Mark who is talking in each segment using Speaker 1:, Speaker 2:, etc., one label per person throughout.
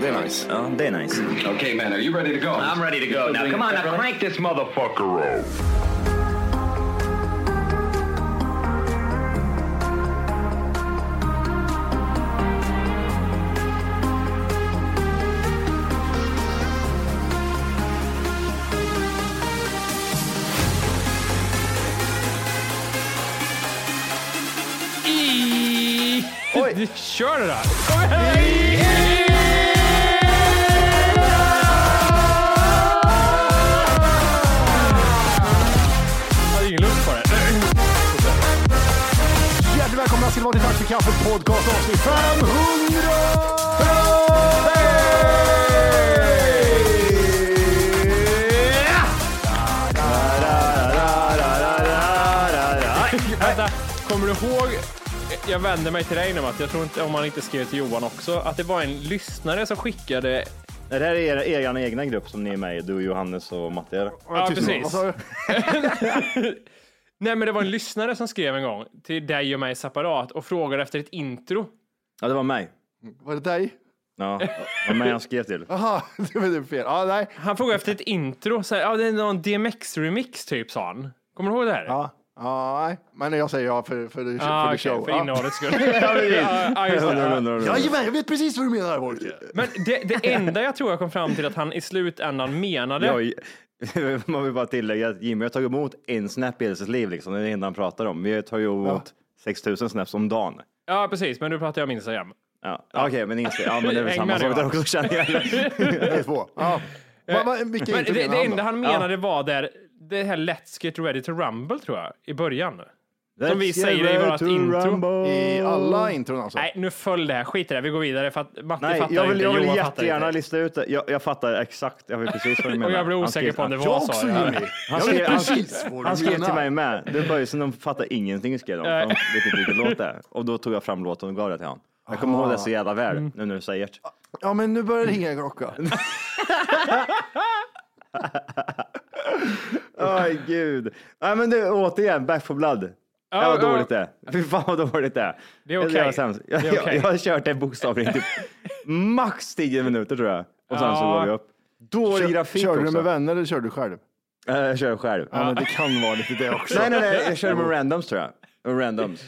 Speaker 1: Det är nice.
Speaker 2: Oh, they're nice.
Speaker 3: okay, man, are you ready to go?
Speaker 2: I'm ready to go. Now, come on, now crank this motherfucker up.
Speaker 4: I... Oj. Kör det där! Jag hade ingen luft på det.
Speaker 1: Hjärtligt välkomna ska ni vara till Tack för kaffet podcast avsnitt 500!
Speaker 4: Vänta, kommer du ihåg? Jag vänder mig till dig nu Matt, jag tror inte om man inte skrev till Johan också, att det var en lyssnare som skickade.
Speaker 5: Det här är er, er egna grupp som ni är med i, du, Johannes och Matti. eller?
Speaker 4: Ja, precis.
Speaker 1: Vad sa du?
Speaker 4: Nej, men det var en lyssnare som skrev en gång till dig och mig separat och frågade efter ett intro.
Speaker 5: Ja, det var mig.
Speaker 1: Var det dig?
Speaker 5: Ja, det var mig han skrev till.
Speaker 1: Jaha, det var det fel. Ja, nej.
Speaker 4: Han frågade efter ett intro, så här, ja, det är någon DMX-remix typ sa han. Kommer du ihåg det här?
Speaker 1: Ja, ja, nej. Men jag säger ja för, för, för,
Speaker 4: ah,
Speaker 1: för
Speaker 4: okej,
Speaker 1: show.
Speaker 4: för
Speaker 1: Ja.
Speaker 4: innehållets skull. ja, ja, just det.
Speaker 5: Hundra,
Speaker 4: Ja.
Speaker 5: hundra, hundra.
Speaker 1: Jajamän, jag vet precis vad du menar Wolke.
Speaker 4: Men det, det enda jag tror jag kom fram till att han i slutändan menade.
Speaker 5: Jag- Man vill bara tillägga att Jimmy har tagit emot en snap i hela sitt liv, liksom. det är det enda han pratar om. Vi tar ju emot 6000 snaps om dagen.
Speaker 4: Ja, precis, men nu pratar jag om Instagram.
Speaker 5: Ja. Okej, men inte. Ja, men det är väl
Speaker 4: Häng
Speaker 5: samma
Speaker 4: med nu,
Speaker 5: sak där
Speaker 4: va?
Speaker 5: också känner jag.
Speaker 1: Det är två. Ja. Va, va, vilka
Speaker 4: Eh, Men det, det
Speaker 1: inte menar han
Speaker 4: enda
Speaker 1: då?
Speaker 4: han menade var där, det här Let's Get Ready to Rumble tror jag, i början. Som vi
Speaker 5: Let's
Speaker 4: säger i
Speaker 5: get ready
Speaker 4: vårt
Speaker 5: to
Speaker 4: intro.
Speaker 5: rumble.
Speaker 1: I alla intron alltså?
Speaker 4: Nej, nu föll det här. Skit i det, vi går vidare. För att Matti
Speaker 5: Nej,
Speaker 4: fattar
Speaker 5: jag vill,
Speaker 4: inte,
Speaker 5: jag vill
Speaker 4: Johan fattar
Speaker 5: jättegärna
Speaker 4: inte.
Speaker 5: lista ut det. Jag, jag fattar exakt. Jag vet precis vad du menar.
Speaker 4: Och jag blev
Speaker 5: Han
Speaker 4: osäker
Speaker 5: skrev-
Speaker 4: på om det
Speaker 1: Jag
Speaker 4: var
Speaker 1: också
Speaker 4: så.
Speaker 1: Jimmy.
Speaker 5: Han
Speaker 1: Jag
Speaker 5: skrev,
Speaker 1: vet
Speaker 5: han,
Speaker 1: precis vad du
Speaker 5: han skrev
Speaker 1: menar.
Speaker 5: till mig med. Det var ju som de fattar ingenting skrev de. för De vet inte vilken låt det är. Och då tog jag fram låten och gav det till honom. Jag kommer ihåg det så jävla väl
Speaker 4: Mm.
Speaker 5: nu när du säger det.
Speaker 1: Ja, men nu börjar det ringa en klocka. ah.
Speaker 5: Åh gud. Nej men du, återigen, Back for blood. Ja, vad
Speaker 4: ja.
Speaker 5: dåligt det är. Fy fan vad dåligt det är.
Speaker 4: Ah, Det är okej.
Speaker 5: jävla sämst. Jag,
Speaker 4: Det är okej.
Speaker 5: jag, jag har kört det bokstavligen typ max 10 minuter tror jag. Och sen så
Speaker 4: Ja.
Speaker 5: går vi upp. Dålig grafik
Speaker 1: Körde du
Speaker 5: också.
Speaker 1: med vänner eller körde du själv?
Speaker 5: Eh, Jag kör själv.
Speaker 1: Ja, men det kan vara lite det också.
Speaker 5: Nej, nej, nej, jag körde med randoms tror jag. Randoms.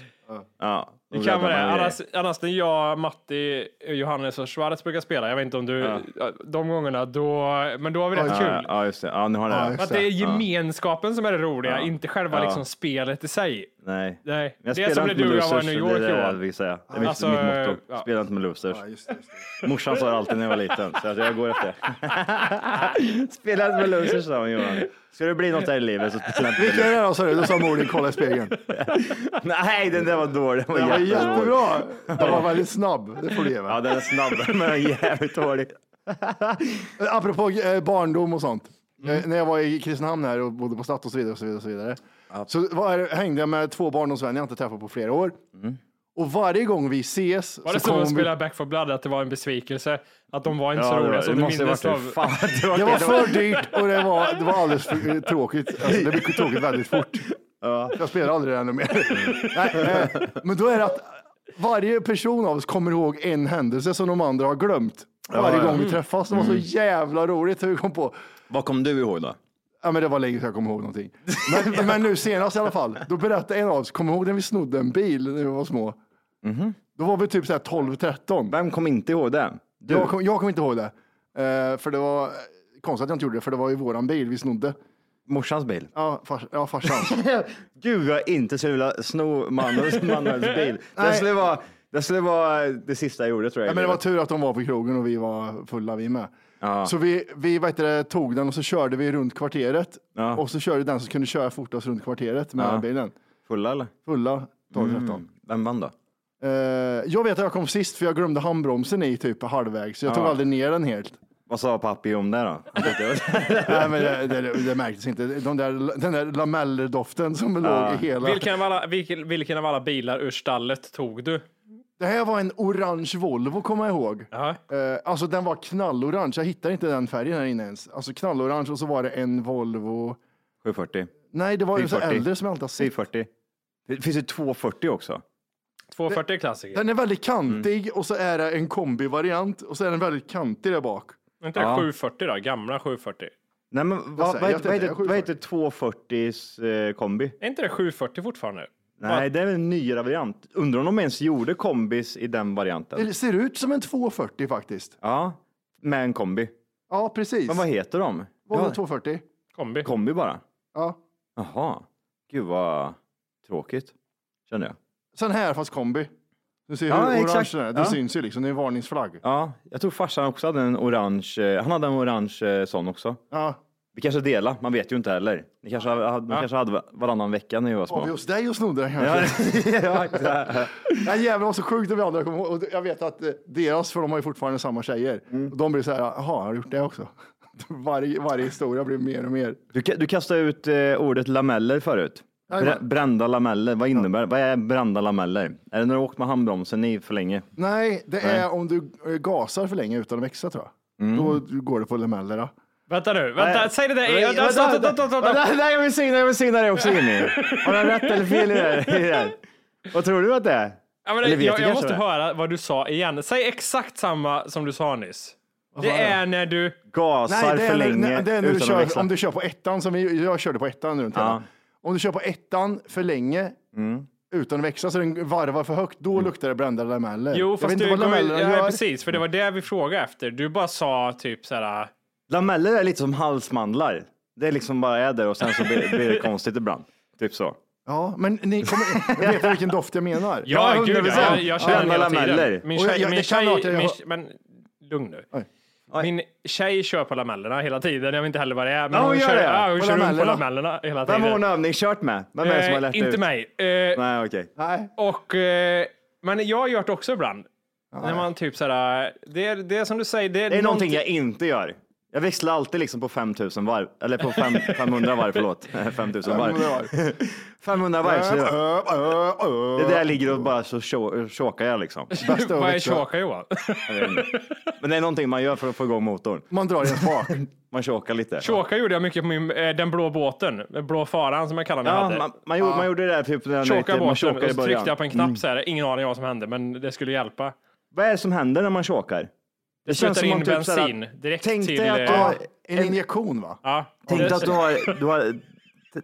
Speaker 5: Ja.
Speaker 4: Det
Speaker 5: Och
Speaker 4: kan vara
Speaker 5: räddar
Speaker 4: det.
Speaker 5: man grejer.
Speaker 4: Annars, annars när jag, Matti, Johannes och Schwarz brukar spela, jag vet inte om du, de gångerna, då, men då har vi rätt
Speaker 5: Ja,
Speaker 4: kul.
Speaker 5: ja, just det. Ja, nu har
Speaker 1: Ja,
Speaker 5: det.
Speaker 1: just
Speaker 4: För att det är gemenskapen som är det roliga,
Speaker 5: Ja.
Speaker 4: inte själva
Speaker 5: Ja.
Speaker 4: liksom spelet i sig.
Speaker 5: Nej.
Speaker 4: Nej,
Speaker 5: Men jag
Speaker 4: det är som
Speaker 5: spelar
Speaker 4: när
Speaker 5: inte med
Speaker 4: du och jag var
Speaker 5: losers.
Speaker 4: i New
Speaker 5: Det är
Speaker 4: York
Speaker 5: det jag
Speaker 4: Johan.
Speaker 5: vill säga. Det är mitt-
Speaker 4: Alltså,
Speaker 5: mitt motto.
Speaker 4: ja.
Speaker 5: Spela inte med losers.
Speaker 1: Ja, just det, just det.
Speaker 5: Morsan sa det alltid när jag var liten, så att jag går efter det. Spela inte med losers, sa hon Johan. Ska du bli något här i livet så spela inte med
Speaker 1: Vilken är
Speaker 5: losers.
Speaker 1: det då, sa du? Då sa mor din, kolla i spegeln.
Speaker 5: Nej, den där var dålig. Den var,
Speaker 1: Den var
Speaker 5: jättedålig.
Speaker 1: jättebra. Den var väldigt snabb. Det får du ge
Speaker 5: Ja,
Speaker 1: mig.
Speaker 5: den är snabb, men den är jävligt dålig.
Speaker 1: Apropå eh, barndom och sånt. Eh, När jag var i Kristinehamn här och bodde på Statt och så vidare. Och så vidare, och så vidare. så var, jag- hängde jag med två barndomsvänner jag inte träffat på flera år.
Speaker 5: Mm.
Speaker 1: Och varje gång vi ses
Speaker 4: Var det
Speaker 1: så
Speaker 4: som
Speaker 1: kommer
Speaker 4: att
Speaker 1: vi-
Speaker 4: spela Back for Blood, att det var en besvikelse? Att de var inte så
Speaker 5: Ja, det,
Speaker 4: roliga
Speaker 5: var, det
Speaker 4: som du
Speaker 5: måste ju varit
Speaker 4: mindes
Speaker 5: det.
Speaker 4: av?
Speaker 5: Fan, det var,
Speaker 1: Det var
Speaker 5: det var,
Speaker 1: för dyrt och det var, det var alldeles för eh, tråkigt. Alltså, det blev tråkigt väldigt fort. Jag spelar aldrig det ännu mer. Nej, eh, men då är det att varje person av oss kommer ihåg en händelse som de andra har glömt. Varje
Speaker 5: Ja, Mm. ja.
Speaker 1: gång vi träffas. Det var så jävla roligt hur vi kom på.
Speaker 5: vad kom du ihåg då?
Speaker 1: Ja, men det var länge sedan jag kom ihåg någonting. Men, men nu senast i alla fall. Då berättade en av oss, kommer du ihåg när vi snodde en bil när vi var små?
Speaker 5: Mhm.
Speaker 1: Då var vi typ så här 12-13.
Speaker 5: Vem kom inte ihåg den? Du?
Speaker 1: Jag kommer jag kom inte ihåg det. Eh, för det var eh, konstigt att jag inte gjorde det, för det var ju våran bil vi snodde.
Speaker 5: Morsans bil.
Speaker 1: Ja, fars, ja farsans.
Speaker 5: Gud, jag inte skulle vilja sno Manuels, Manuels bil. Det
Speaker 1: Nej.
Speaker 5: skulle, vara, det skulle vara det sista jag gjorde tror jag.
Speaker 1: Ja, men det var tur att de var på krogen och vi var fulla vi med.
Speaker 5: Ja.
Speaker 1: Så vi, vi vad heter det, tog den och så körde vi runt kvarteret.
Speaker 5: Ja.
Speaker 1: Och så körde den som kunde köra fortast runt kvarteret med
Speaker 5: Ja.
Speaker 1: bilen.
Speaker 5: Fulla eller?
Speaker 1: Fulla 12-13.
Speaker 5: Vem vann då?
Speaker 1: Eh, jag vet att jag kom sist för jag glömde handbromsen i typ halvvägs. Så jag tog
Speaker 5: Ja.
Speaker 1: aldrig ner den helt.
Speaker 5: Vad sa pappi om det då? Han tyckte jag-
Speaker 1: Nej, men det, det, det märktes inte. De där, den där lamellerdoften som låg i hela.
Speaker 4: Vilken av, alla, vilken, vilken av alla bilar ur stallet tog du?
Speaker 1: Det här var en orange Volvo kommer jag ihåg.
Speaker 4: Ja.
Speaker 1: Eh, alltså den var knallorange. Jag hittar inte den färgen här inne ens. Alltså knallorange och så var det en Volvo.
Speaker 5: 740.
Speaker 1: Nej, det var ju så
Speaker 5: 740.
Speaker 1: äldre som jag alltid har sett.
Speaker 5: 740. Det finns ju 240 också.
Speaker 4: 240 är klassiker.
Speaker 1: Den är väldigt kantig och så är det en kombivariant och så är den väldigt kantig där bak.
Speaker 4: Är inte
Speaker 5: Ja.
Speaker 4: det 740 då? Gamla 740?
Speaker 5: Nej, men vad,
Speaker 1: säger
Speaker 5: vad,
Speaker 1: jag att
Speaker 5: heter,
Speaker 1: det
Speaker 5: vad, heter,
Speaker 1: inte är 740?
Speaker 5: vad heter 240s eh, kombi?
Speaker 4: Är inte det 740 fortfarande?
Speaker 5: Nej, det är väl en nyare variant. Undrar om de ens gjorde kombis i den varianten?
Speaker 1: Det ser ut som en 240 faktiskt.
Speaker 5: Ja, med en kombi.
Speaker 1: Ja, precis.
Speaker 5: Men vad heter de?
Speaker 1: Volvo
Speaker 5: Ja,
Speaker 1: 240.
Speaker 4: Kombi.
Speaker 5: kombi bara.
Speaker 1: Ja.
Speaker 5: Jaha, gud vad tråkigt känner jag.
Speaker 1: Sen här fast kombi. Du ser
Speaker 5: Ja,
Speaker 1: hur orange
Speaker 5: exakt.
Speaker 1: den är. Det
Speaker 5: Ja.
Speaker 1: syns ju liksom. Det är en varningsflagg.
Speaker 5: Ja, jag tror farsan också hade en orange, eh, han hade en orange eh, sån också.
Speaker 1: Ja.
Speaker 5: Vi kanske delar, man vet ju inte heller. Ni kanske hade, ni kanske hade varannan vecka när vi var
Speaker 1: Var vi
Speaker 5: små.
Speaker 1: hos dig och snodde den kanske?
Speaker 5: Ja, ja, exakt.
Speaker 1: Nej jävlar vad så sjukt det var. Jag, kommer ihåg. Och jag vet att eh, deras, för de har ju fortfarande samma tjejer,
Speaker 5: Mm.
Speaker 1: och de blir så här, jaha, har du gjort det också? Varje, varje historia blir mer och mer.
Speaker 5: du, ka- du kastade ut eh, ordet lameller förut. Brä,
Speaker 1: Jajamän.
Speaker 5: brända lameller, vad innebär Vad är brända lameller? Är det när du åkt med handbromsen i för länge?
Speaker 1: Nej, det är om du eh, gasar för länge utan att växa tror jag.
Speaker 5: Mm.
Speaker 1: Då går det på lamellerna.
Speaker 4: Vänta nu, vänta, säg det där. Vänta, vänta, vänta, vänta, vänta, vänta.
Speaker 5: Nej, nej, jag vill signa, jag vill signa dig också Jimmy. Har jag rätt eller fel i det här? i det här? Vad tror du att det är?
Speaker 4: Ja, men
Speaker 5: Eller
Speaker 4: jag
Speaker 5: vet
Speaker 4: jag,
Speaker 5: du
Speaker 4: jag
Speaker 5: kanske
Speaker 4: måste
Speaker 5: det?
Speaker 4: höra vad du sa igen. Säg exakt samma som du sa nyss. Det är när du...
Speaker 5: Gasar för
Speaker 1: när-
Speaker 5: länge
Speaker 1: nej, det är när du
Speaker 5: utan att
Speaker 1: kör,
Speaker 5: växla.
Speaker 1: om du kör på ettan, som vi, jag körde på ettan runt hela. Om du kör på ettan för länge,
Speaker 5: Mm.
Speaker 1: utan att växa, så den varvar för högt, då luktar det brända lameller.
Speaker 4: Jo,
Speaker 1: jag
Speaker 4: fast
Speaker 1: vet
Speaker 4: du...
Speaker 1: inte vad
Speaker 4: går-
Speaker 1: lamellerna
Speaker 4: ja,
Speaker 1: gör.
Speaker 4: precis, för det var det vi frågade efter. Du bara sa typ så här...
Speaker 5: Lameller är lite som halsmandlar. Det är liksom bara är där och sen så blir, blir det konstigt ibland. Typ så.
Speaker 1: Ja, men ni kommer, vet vilken doft jag menar?
Speaker 4: Ja,
Speaker 5: Ja,
Speaker 4: gud, jag,
Speaker 5: 100%.
Speaker 4: jag, jag känner
Speaker 5: Brända
Speaker 4: hela tiden.
Speaker 5: lameller.
Speaker 4: Min
Speaker 1: Och jag-
Speaker 4: tjej,
Speaker 1: jag-
Speaker 4: min
Speaker 1: det kan vara att
Speaker 4: tjej,
Speaker 1: jag
Speaker 4: min,
Speaker 1: har-
Speaker 4: men lugn nu.
Speaker 1: Oj.
Speaker 5: Oj.
Speaker 4: Min tjej kör på lamellerna hela tiden. Jag vet inte heller vad det är, men
Speaker 5: Ja,
Speaker 4: hon,
Speaker 5: hon gör
Speaker 4: kör,
Speaker 5: det.
Speaker 4: ja, hon
Speaker 1: På
Speaker 4: kör runt på
Speaker 1: lamellerna.
Speaker 4: lamellerna hela
Speaker 5: Vem har hon
Speaker 4: tiden.
Speaker 5: övning kört med? Vem är det som har lärt
Speaker 4: Eh,
Speaker 5: ut?
Speaker 4: inte mig. Eh,
Speaker 5: Nej, okej.
Speaker 1: Nej.
Speaker 4: Och, eh, men jag har gjort det också ibland. När man typ såhär, det är, det är som du säger, det är,
Speaker 5: Det är någonting jag inte gör. Jag växlar alltid liksom på 5000 varv. Eller på fem, 500 varv, förlåt. 5000 varv. 500 varv. Så jag, det där ligger och bara så tjo- tjåkar jag liksom.
Speaker 1: Bästa
Speaker 4: Vad är
Speaker 1: överväxt, va?
Speaker 4: tjåka Johan?
Speaker 5: Jag vet inte. Men det är någonting man gör för att få igång motorn.
Speaker 1: Man drar i en spak.
Speaker 5: Man tjåkar lite.
Speaker 4: Tjåka gjorde jag mycket på min, eh, den blå båten, den blå faran som jag kallar den. jag
Speaker 5: Ja,
Speaker 4: hade.
Speaker 5: man, man, gjorde, man gjorde det där typ när
Speaker 4: Tjåka
Speaker 5: man
Speaker 4: båten
Speaker 5: tjåkar i
Speaker 4: och så
Speaker 5: början. Mm.
Speaker 4: tryckte jag på en knapp så här. ingen aning om vad som hände men det skulle hjälpa.
Speaker 5: Vad är det som händer när man tjåkar? Det
Speaker 4: Puttar in
Speaker 5: typ så här
Speaker 4: bensin direkt
Speaker 5: Tänk
Speaker 4: till...
Speaker 5: dig att
Speaker 4: eh,
Speaker 5: du har-
Speaker 1: En injektion va?
Speaker 4: ja.
Speaker 5: Tänk dig
Speaker 4: Det-
Speaker 5: att du har, du har t-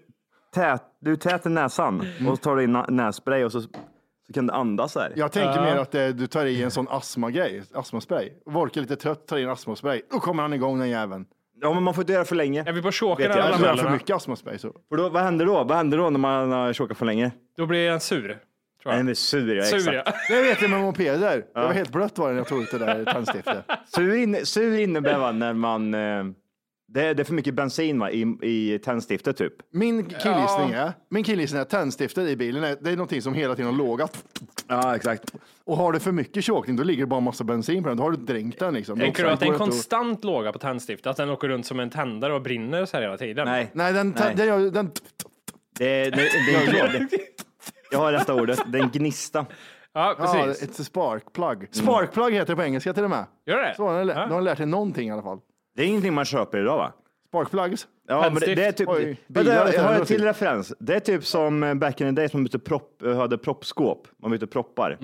Speaker 5: tät, du är tät i näsan och så tar du in na- nässpray och så Så kan du andas här.
Speaker 1: Jag tänker mer att eh, du tar i en sån astmagrej, astmaspray. Volker är lite trött, tar i en astmaspray. Då kommer han igång den jäveln.
Speaker 5: Ja, men man får inte göra för länge.
Speaker 4: Är vi på choken
Speaker 5: Vet
Speaker 4: alla
Speaker 5: jag.
Speaker 1: Eller så har han för
Speaker 4: mellerna?
Speaker 1: mycket astmaspray. Så.
Speaker 5: För då, vad händer då? Vad händer då när man har chokat för länge?
Speaker 4: Då blir han sur. Tror
Speaker 5: Nej, men
Speaker 4: jag.
Speaker 5: sur, ja,
Speaker 4: Sur
Speaker 5: exakt.
Speaker 4: ja.
Speaker 1: Det vet jag med mopeder. Det var helt blött var det när jag tog ut det där tändstiftet.
Speaker 5: Sur, in, sur innebär va, när man... Eh, det, är- det är för mycket bensin va, i, i tändstiftet typ.
Speaker 1: Min killgissning är, min killgissning är att tändstiftet i bilen, är, det är någonting som hela tiden har lågat.
Speaker 5: Ja, exakt.
Speaker 1: Och har du för mycket chokning, då ligger det bara massa bensin på den. Då har du dränkt den liksom.
Speaker 4: Tänker du
Speaker 1: Då
Speaker 4: att det är en
Speaker 1: går inte att-
Speaker 4: konstant låga på tändstiftet? Att den åker runt som en tändare och brinner så här hela tiden?
Speaker 5: Nej,
Speaker 1: Nej, den,
Speaker 5: Nej.
Speaker 1: den, den, den
Speaker 5: det, det, det, det, det, jag har rätta ordet. Det är en gnista.
Speaker 4: Ja,
Speaker 1: Ja,
Speaker 4: precis. Mm.
Speaker 1: it's a spark plug. Spark plug heter det på engelska till och med.
Speaker 4: Gör det?
Speaker 1: Så har de, lä-
Speaker 4: Ja.
Speaker 1: de har lärt sig någonting i alla fall.
Speaker 5: Det är ingenting man köper idag va?
Speaker 1: Spark plugs.
Speaker 5: Ja, men det, det är
Speaker 4: Tändstift.
Speaker 5: typ...
Speaker 1: Oj,
Speaker 5: Vänta,
Speaker 1: bilar,
Speaker 5: jag har en
Speaker 1: tändstift.
Speaker 5: till referens. Det är typ som eh, back in the days man bytte propp, eh, hade proppskåp. Man bytte proppar.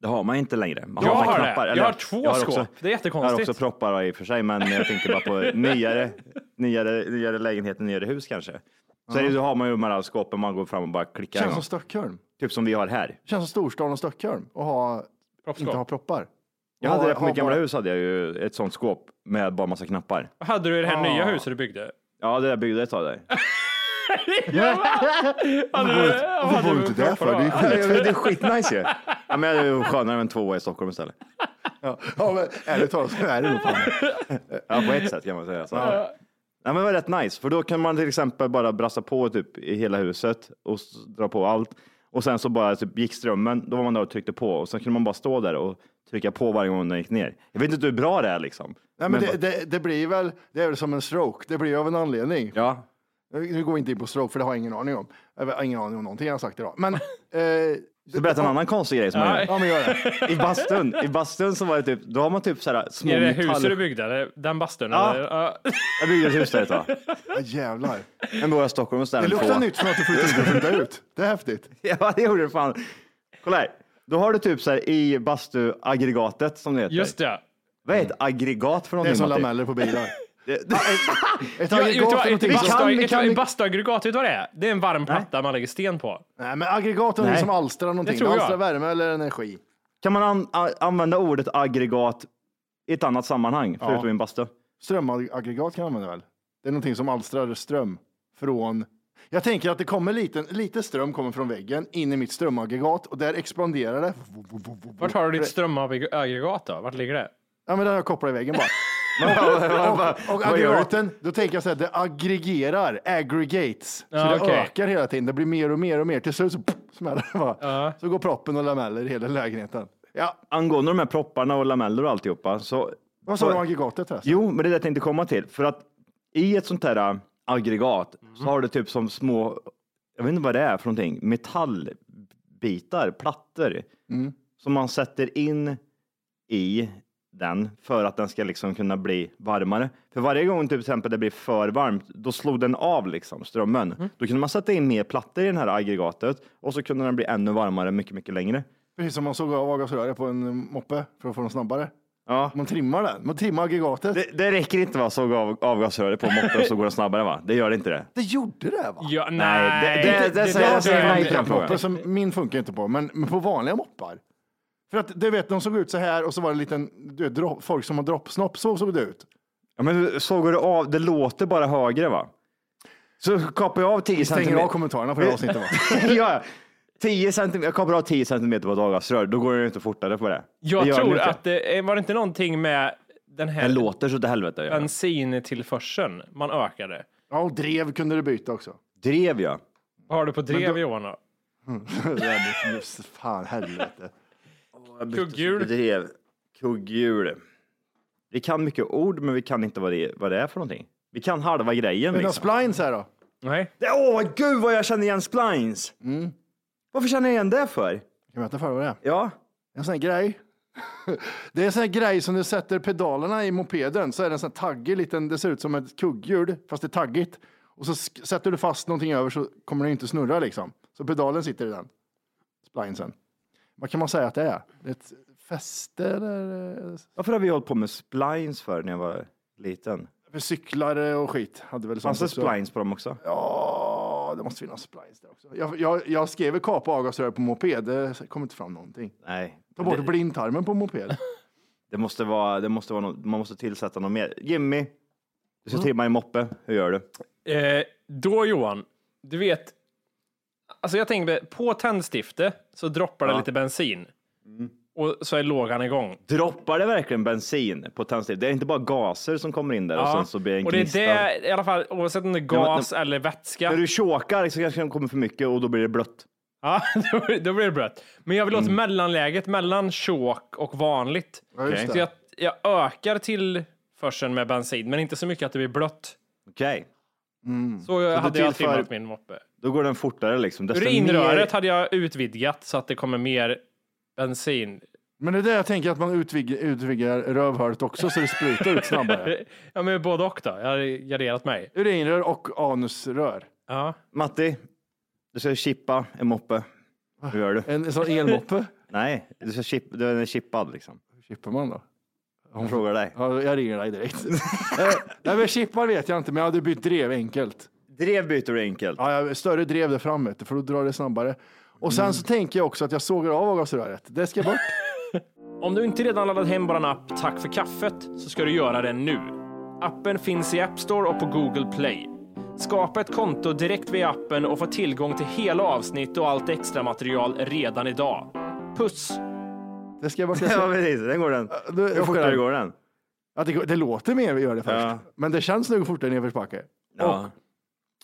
Speaker 5: Det har man inte längre. Man
Speaker 4: Jag
Speaker 5: bara
Speaker 4: har det. Jag
Speaker 5: eller-
Speaker 4: har två skåp. Det är jättekonstigt.
Speaker 5: Jag har också proppar va, i och för sig, men jag tänker bara på nyare, nyare, nyare lägenheter, nyare hus kanske. Så är det, då har man ju de här skåpen man går fram och bara klickar.
Speaker 1: Känns
Speaker 5: en
Speaker 1: som
Speaker 5: gång.
Speaker 1: Stockholm.
Speaker 5: Typ som vi har här.
Speaker 1: Känns som storstan och Stockholm och ha, inte ha
Speaker 4: Proppskåp.
Speaker 1: proppar.
Speaker 5: Jag hade
Speaker 1: Ja,
Speaker 5: det på
Speaker 1: har
Speaker 5: mitt gamla
Speaker 1: bara-
Speaker 5: hus, hade jag ju ett sånt skåp med bara massa knappar.
Speaker 4: Vad hade du i det här nya huset du byggde?
Speaker 5: Ja, det där byggde jag ett tag där.
Speaker 4: Hade du,
Speaker 1: Varför bor du inte där för? Det är skit.
Speaker 5: det är skitnice ju. Ja, men det är ju skönare än tvåa i Stockholm istället.
Speaker 1: Ja, men ärligt talat så är det nog fan.
Speaker 5: Ja, på ett sätt kan man säga. Så. Nej, men det var rätt nice, för då kan man till exempel bara brassa på typ i hela huset och s- dra på allt. Och sen så bara typ, gick strömmen, då var man där och tryckte på och sen kunde man bara stå där och trycka på varje gång den gick ner. Jag vet inte hur bra det är liksom.
Speaker 1: Nej, men det, det, det blir väl, det är väl som en stroke. Det blir av en anledning.
Speaker 5: Ja,
Speaker 1: Nu går vi inte in på stroke för det har jag ingen aning om. Jag har ingen aning om någonting jag har sagt idag. Men, eh,
Speaker 5: så berätta en annan konstig grej som man gör.
Speaker 1: ja men gör det.
Speaker 5: I bastun, I bastun så var det typ, då har man typ så här små
Speaker 4: Är det
Speaker 5: metall...
Speaker 4: huset du byggde? eller? Den bastun?
Speaker 5: Ja.
Speaker 4: eller? Ja.
Speaker 5: Jag byggde ett hus där ett tag.
Speaker 1: Ja, jävlar.
Speaker 5: En bor i Stockholm och
Speaker 1: Det
Speaker 5: ställer
Speaker 1: luktar nytt från att du flyttade ut. Flyttade ut. Det är häftigt.
Speaker 5: Ja, det gjorde det fan. Kolla här. Då har du typ så här i bastuaggregatet som det heter.
Speaker 4: Just det.
Speaker 5: Vad är ett aggregat för
Speaker 1: Det är
Speaker 5: någonting?
Speaker 1: som
Speaker 5: Matti?
Speaker 1: lameller på bilar.
Speaker 5: Det- det-
Speaker 1: Ett
Speaker 4: Ja, vet du
Speaker 1: aggregat
Speaker 4: vad?
Speaker 1: är
Speaker 4: Ett
Speaker 1: någonting som-
Speaker 4: bastu-
Speaker 1: Kan-
Speaker 4: ett-
Speaker 1: kan-
Speaker 4: ett bastuaggregat, vet du vad det är? Det är en varm platta man lägger sten på.
Speaker 1: Nej, men aggregat är någonting
Speaker 5: Nej.
Speaker 1: som alstrar någonting.
Speaker 4: Det tror jag.
Speaker 1: alstrar värme eller energi.
Speaker 5: Kan man an, a, använda ordet aggregat i ett annat sammanhang, förutom i en bastu?
Speaker 1: Strömaggregat kan man använda väl? Det är någonting som alstrar ström från... Jag tänker att det kommer lite, lite ström kommer från väggen in i mitt strömaggregat och där expanderar det.
Speaker 4: Vart har du ditt strömaggregat då? Vart ligger det?
Speaker 1: Ja, men den har jag kopplat i väggen bara. Och,
Speaker 5: Vad gör
Speaker 1: och
Speaker 5: du?
Speaker 1: aggregaten, då tänker jag så här, det aggregerar, aggregates. Så
Speaker 4: Ja,
Speaker 1: det
Speaker 4: okej.
Speaker 1: ökar hela tiden, det blir mer och mer och mer. Till slut så smäller det bara. Så går proppen och lameller i hela lägenheten. Ja,
Speaker 5: Angående de här propparna och lameller och alltihopa. Så,
Speaker 1: vad sa du om aggregatet? Här?
Speaker 5: jo, men det är det jag tänkte komma till. För att i ett sånt här ä, aggregat så har du typ som små, jag vet inte vad det är för någonting, metallbitar, plattor som man sätter in i den för att den ska liksom kunna bli varmare. För varje gång typ, till exempel det blir för varmt, då slog den av liksom strömmen. Då kunde man sätta in mer plattor i det här aggregatet och så kunde den bli ännu varmare mycket, mycket längre.
Speaker 1: Precis som man såg av avgasröret på en moppe för att få den snabbare.
Speaker 5: Ja.
Speaker 1: Man trimmar den, man trimmar aggregatet. Det,
Speaker 5: Det, det räcker inte va, såg av, avgasröret på moppen så går den snabbare va? Det gör inte det.
Speaker 1: gjorde det va?
Speaker 4: Ja,
Speaker 5: Nej,
Speaker 4: nej.
Speaker 5: det- det- det säger-
Speaker 4: där
Speaker 5: jag säger
Speaker 4: är-
Speaker 5: nej till
Speaker 1: Det är
Speaker 5: den
Speaker 1: en
Speaker 5: frågan.
Speaker 1: moppe som min funkar inte på, men, men på vanliga moppar. För att du vet, de såg ut så här och så var det en liten, du vet, dropp, folk som har droppsnopp, så såg det ut.
Speaker 5: Ja, men såg du av, det låter bara högre va? Så kapar jag av 10
Speaker 1: Stänger av
Speaker 5: centimeter.
Speaker 1: kommentarerna på det här avsnittet va?
Speaker 5: ja, 10 centimeter, jag kapar av 10 centimeter på ett avgasrör, då går det ju inte fortare på det.
Speaker 4: Jag
Speaker 5: det gör den
Speaker 4: tror
Speaker 5: inte.
Speaker 4: att det var det inte någonting med den
Speaker 5: Den
Speaker 4: här
Speaker 5: låter så till helvete. gör den.
Speaker 4: bensintillförseln man ökade.
Speaker 1: Ja, och drev kunde du byta också.
Speaker 5: Drev jag.
Speaker 4: Vad har du på drev Johan då?
Speaker 1: Det där blir- Fan, helvete.
Speaker 4: Kugghjul?
Speaker 5: Drev. Kugghjul. Vi kan mycket ord, men vi kan inte vad det, vad det är för någonting. Vi kan halva grejen.
Speaker 1: Utan
Speaker 5: Liksom.
Speaker 1: splines här då?
Speaker 4: Nej.
Speaker 5: Det- Åh, gud vad jag känner igen splines.
Speaker 4: Mm.
Speaker 5: Varför känner jag igen det för?
Speaker 1: Kan vi veta för vad det är?
Speaker 5: Ja,
Speaker 1: En sån här grej. Det är en sån här grej som du sätter pedalerna i mopeden så är det en sån här taggig liten, det ser ut som ett kugghjul fast det är taggigt. Och så sk- sätter du fast någonting över så kommer den inte snurra liksom. Så pedalen sitter i den. Splinesen. Vad kan man säga att det är? Det är ett fäste eller? eh,
Speaker 5: varför har vi hållit på med splines för när jag var liten?
Speaker 1: För cyklar och skit hade väl sånt
Speaker 5: Fanns det
Speaker 1: också.
Speaker 5: splines på dem också?
Speaker 1: Ja, det måste finnas splice där också. Jag, jag, jag skrev väl kapa avgasrör på moped, det kom inte fram någonting.
Speaker 5: Nej.
Speaker 1: Ta bort
Speaker 5: Det-
Speaker 1: blindtarmen på moped.
Speaker 5: Det måste vara, det måste vara något, man måste tillsätta något mer. Jimmy, du ska trimma en moppe. Hur gör du?
Speaker 4: Eh, då Johan, du vet, alltså jag tänkte på tändstiftet så droppar det
Speaker 5: Ja. Mm.
Speaker 4: lite bensin och så är lågan igång.
Speaker 5: Droppar det verkligen bensin på tändstift? Det är inte bara gaser som kommer in där och sen så blir det en
Speaker 4: och det är
Speaker 5: gnista.
Speaker 4: det, i alla fall oavsett om det är gas eller vätska.
Speaker 5: När du chokar så kanske det kommer för mycket och då blir det blött.
Speaker 4: Ja, då, då blir det blött. Men jag vill
Speaker 5: Mm.
Speaker 4: åt mellanläget mellan chok och vanligt.
Speaker 1: Ja, just
Speaker 5: Okej.
Speaker 1: det.
Speaker 4: Så jag, jag ökar tillförseln med bensin, men inte så mycket att det blir blött.
Speaker 5: Okej,
Speaker 4: Så, hade jag
Speaker 5: tillför-
Speaker 4: trimmat min moppe.
Speaker 5: då går den fortare liksom. Desto
Speaker 4: Urinröret
Speaker 5: mer-
Speaker 4: hade jag utvidgat så att det kommer mer bensin.
Speaker 1: Men det är det jag tänker att man utvidgar, utvidgar rövhålet också så det sprutar ut snabbare.
Speaker 4: Ja, men både och då. Jag hade garderat mig.
Speaker 1: Urinrör och anusrör.
Speaker 4: Ja.
Speaker 5: Matti, du ska chippa en moppe. Hur gör du?
Speaker 1: En sån elmoppe.
Speaker 5: Nej, du ska chip, du är chippad liksom.
Speaker 1: Hur chippar man då?
Speaker 5: Hon frågar dig.
Speaker 1: Ja, jag ringer dig direkt. Eh, Nej, men chippar vet jag inte, men jag hade bytt drev enkelt.
Speaker 5: Drev byter du enkelt.
Speaker 1: Ja, jag, större drev där fram, vet du, för då drar det snabbare. Och sen
Speaker 5: Mm.
Speaker 1: så tänker jag också att jag sågar av avgasröret. Det ska bort.
Speaker 4: Om du inte redan laddat hem bara en app Tack för kaffet så ska du göra det nu. Appen finns i App Store och på Google Play. Skapa ett konto direkt via appen och få tillgång till hela avsnitt och allt extra material redan idag. Puss!
Speaker 1: Det ska bort.
Speaker 5: Ja, precis. Den går den.
Speaker 1: då-
Speaker 5: Hur
Speaker 1: jag
Speaker 5: fortare
Speaker 1: får-
Speaker 5: går den?
Speaker 1: Ja, det, går- det låter mer vi gör det först,
Speaker 5: Ja.
Speaker 1: men det känns nog fortare i nedförsbacke.
Speaker 5: Ja.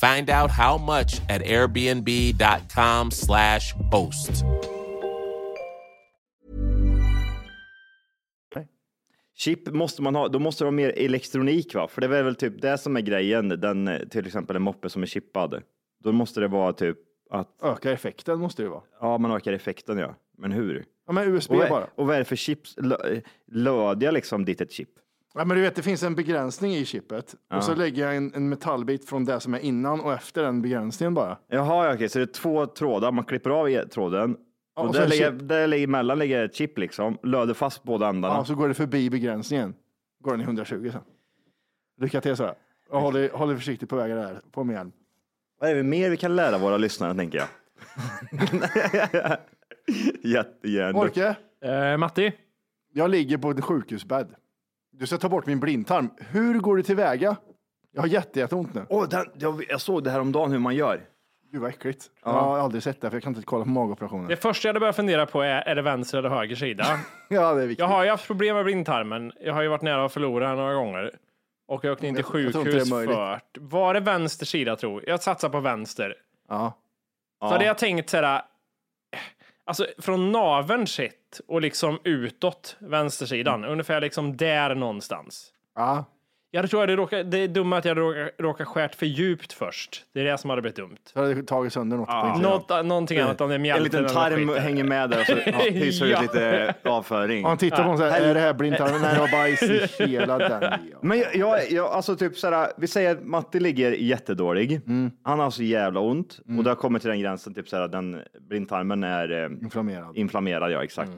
Speaker 6: Find out how much at airbnb.com slash host.
Speaker 5: Chip måste man ha, då måste det vara mer elektronik va? För det är väl typ det som är grejen, den, eh, till exempel en moppe som är chippad. Då måste det vara typ att,
Speaker 1: Öka effekten måste det ju vara.
Speaker 5: ja man ökar effekten ja, men hur?
Speaker 1: Ja, men USB
Speaker 5: Och, vad-
Speaker 1: bara.
Speaker 5: och vad är det för chips, lö- löd jag liksom dit ett chip?
Speaker 1: Ja, men du vet, det finns en begränsning i chippet och så lägger jag en, en metallbit från det som är innan och efter den begränsningen bara.
Speaker 5: Jaha, ja, okej, så det är två trådar, man klipper av i- tråden.
Speaker 1: Ja,
Speaker 5: och
Speaker 1: och
Speaker 5: där,
Speaker 1: sen
Speaker 5: ligger,
Speaker 1: chip.
Speaker 5: där ligger emellan ligger ett chip liksom, löder fast båda ändarna.
Speaker 1: Ja, så går det förbi begränsningen. Går den i 120 sen. Lycka till så. Och håll, dig- håll dig försiktigt på vägen där. På med hjälm.
Speaker 5: Vad är det mer vi kan lära våra lyssnare tänker jag? Jättegärna.
Speaker 1: Orke,
Speaker 4: Eh, Matti?
Speaker 1: jag ligger på en sjukhusbädd. Du ska ta bort min blindtarm. Hur går du tillväga? Jag har jätte, jätteont nu.
Speaker 5: Åh, den, jag, jag såg det här om dagen hur man gör.
Speaker 1: Gud vad äckligt. Jag har aldrig sett det för jag kan inte kolla på magoperationer.
Speaker 4: Det första jag hade börjat fundera på är, är det vänster eller höger sida?
Speaker 1: Ja, det är viktigt.
Speaker 4: Jag har ju haft problem med blindtarmen. Jag har ju varit nära att förlora den några gånger. Och jag åkte in till
Speaker 1: Jag- jag tror inte det är
Speaker 4: sjukhus
Speaker 1: möjligt.
Speaker 4: för... Var det vänster sida tror jag? Jag satsar på vänster.
Speaker 1: Ja.
Speaker 4: Så hade jag tänkt såhär... eh, Alltså från naveln sett och liksom utåt vänstersidan.
Speaker 5: Mm.
Speaker 4: Ungefär liksom där någonstans.
Speaker 1: Ja.
Speaker 4: Jag hade- tror jag hade råkat, det är dumt att jag hade råkat, råkat skärt för djupt först. Det är det som hade blivit dumt.
Speaker 1: Så har det tagit sönder något. tänkte jag.
Speaker 4: Något, någonting annat om det är
Speaker 5: En
Speaker 4: mjälten
Speaker 5: liten tarm hänger med där och så ja, pyser ut
Speaker 4: Ja.
Speaker 5: lite eh, avföring.
Speaker 1: Ja, Han tittar på honom såhär, är det här blindtarmen? Nej, det var bajs i hela den. ja.
Speaker 5: Men jag, jag, jag alltså typ såhär, vi säger att Matti ligger jättedålig.
Speaker 1: Mm.
Speaker 5: Han har så jävla ont och det har kommit till den gränsen, typ såhär, den blindtarmen är eh,
Speaker 1: Inflammerad.
Speaker 4: Mm.
Speaker 5: inflammerad, ja exakt.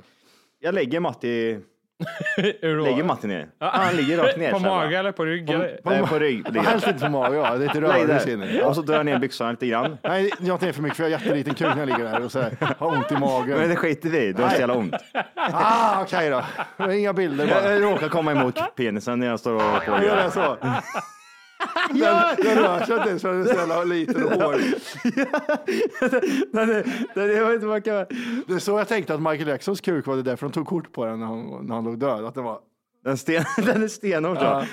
Speaker 5: Jag lägger Matti,
Speaker 4: Hur då?
Speaker 5: lägger Matti ner.
Speaker 4: Ja.
Speaker 5: Han ligger rakt ner.
Speaker 4: På
Speaker 5: så här, va?
Speaker 4: mage eller på rygg? eller?
Speaker 5: Nej, på rygg. ligger han.
Speaker 1: Helst inte på mage, ja. Det är lite
Speaker 5: Lägg
Speaker 1: rörelse i den.
Speaker 5: där. Och så drar jag ner byxorna lite grann.
Speaker 1: Nej, jag inte för mycket för jag har jätteliten kuk när jag ligger där och så här, har ont i magen.
Speaker 5: Men det skiter vi i, det var så jävla ont.
Speaker 1: Ah, okej då. Inga bilder
Speaker 5: Jag,
Speaker 1: bara.
Speaker 5: jag råkar komma emot penisen när jag står och på
Speaker 1: Jag gör det så. Den, den rör sig inte ens för den är så jävla liten och hårig.
Speaker 5: Nej, det, det, jag vet inte vad jag kan...
Speaker 1: Det är så jag tänkte att Michael Jacksons kuk var det därför de tog kort på den när han, när han låg död. Att det var...
Speaker 5: Den, sten, den är stenhård. så.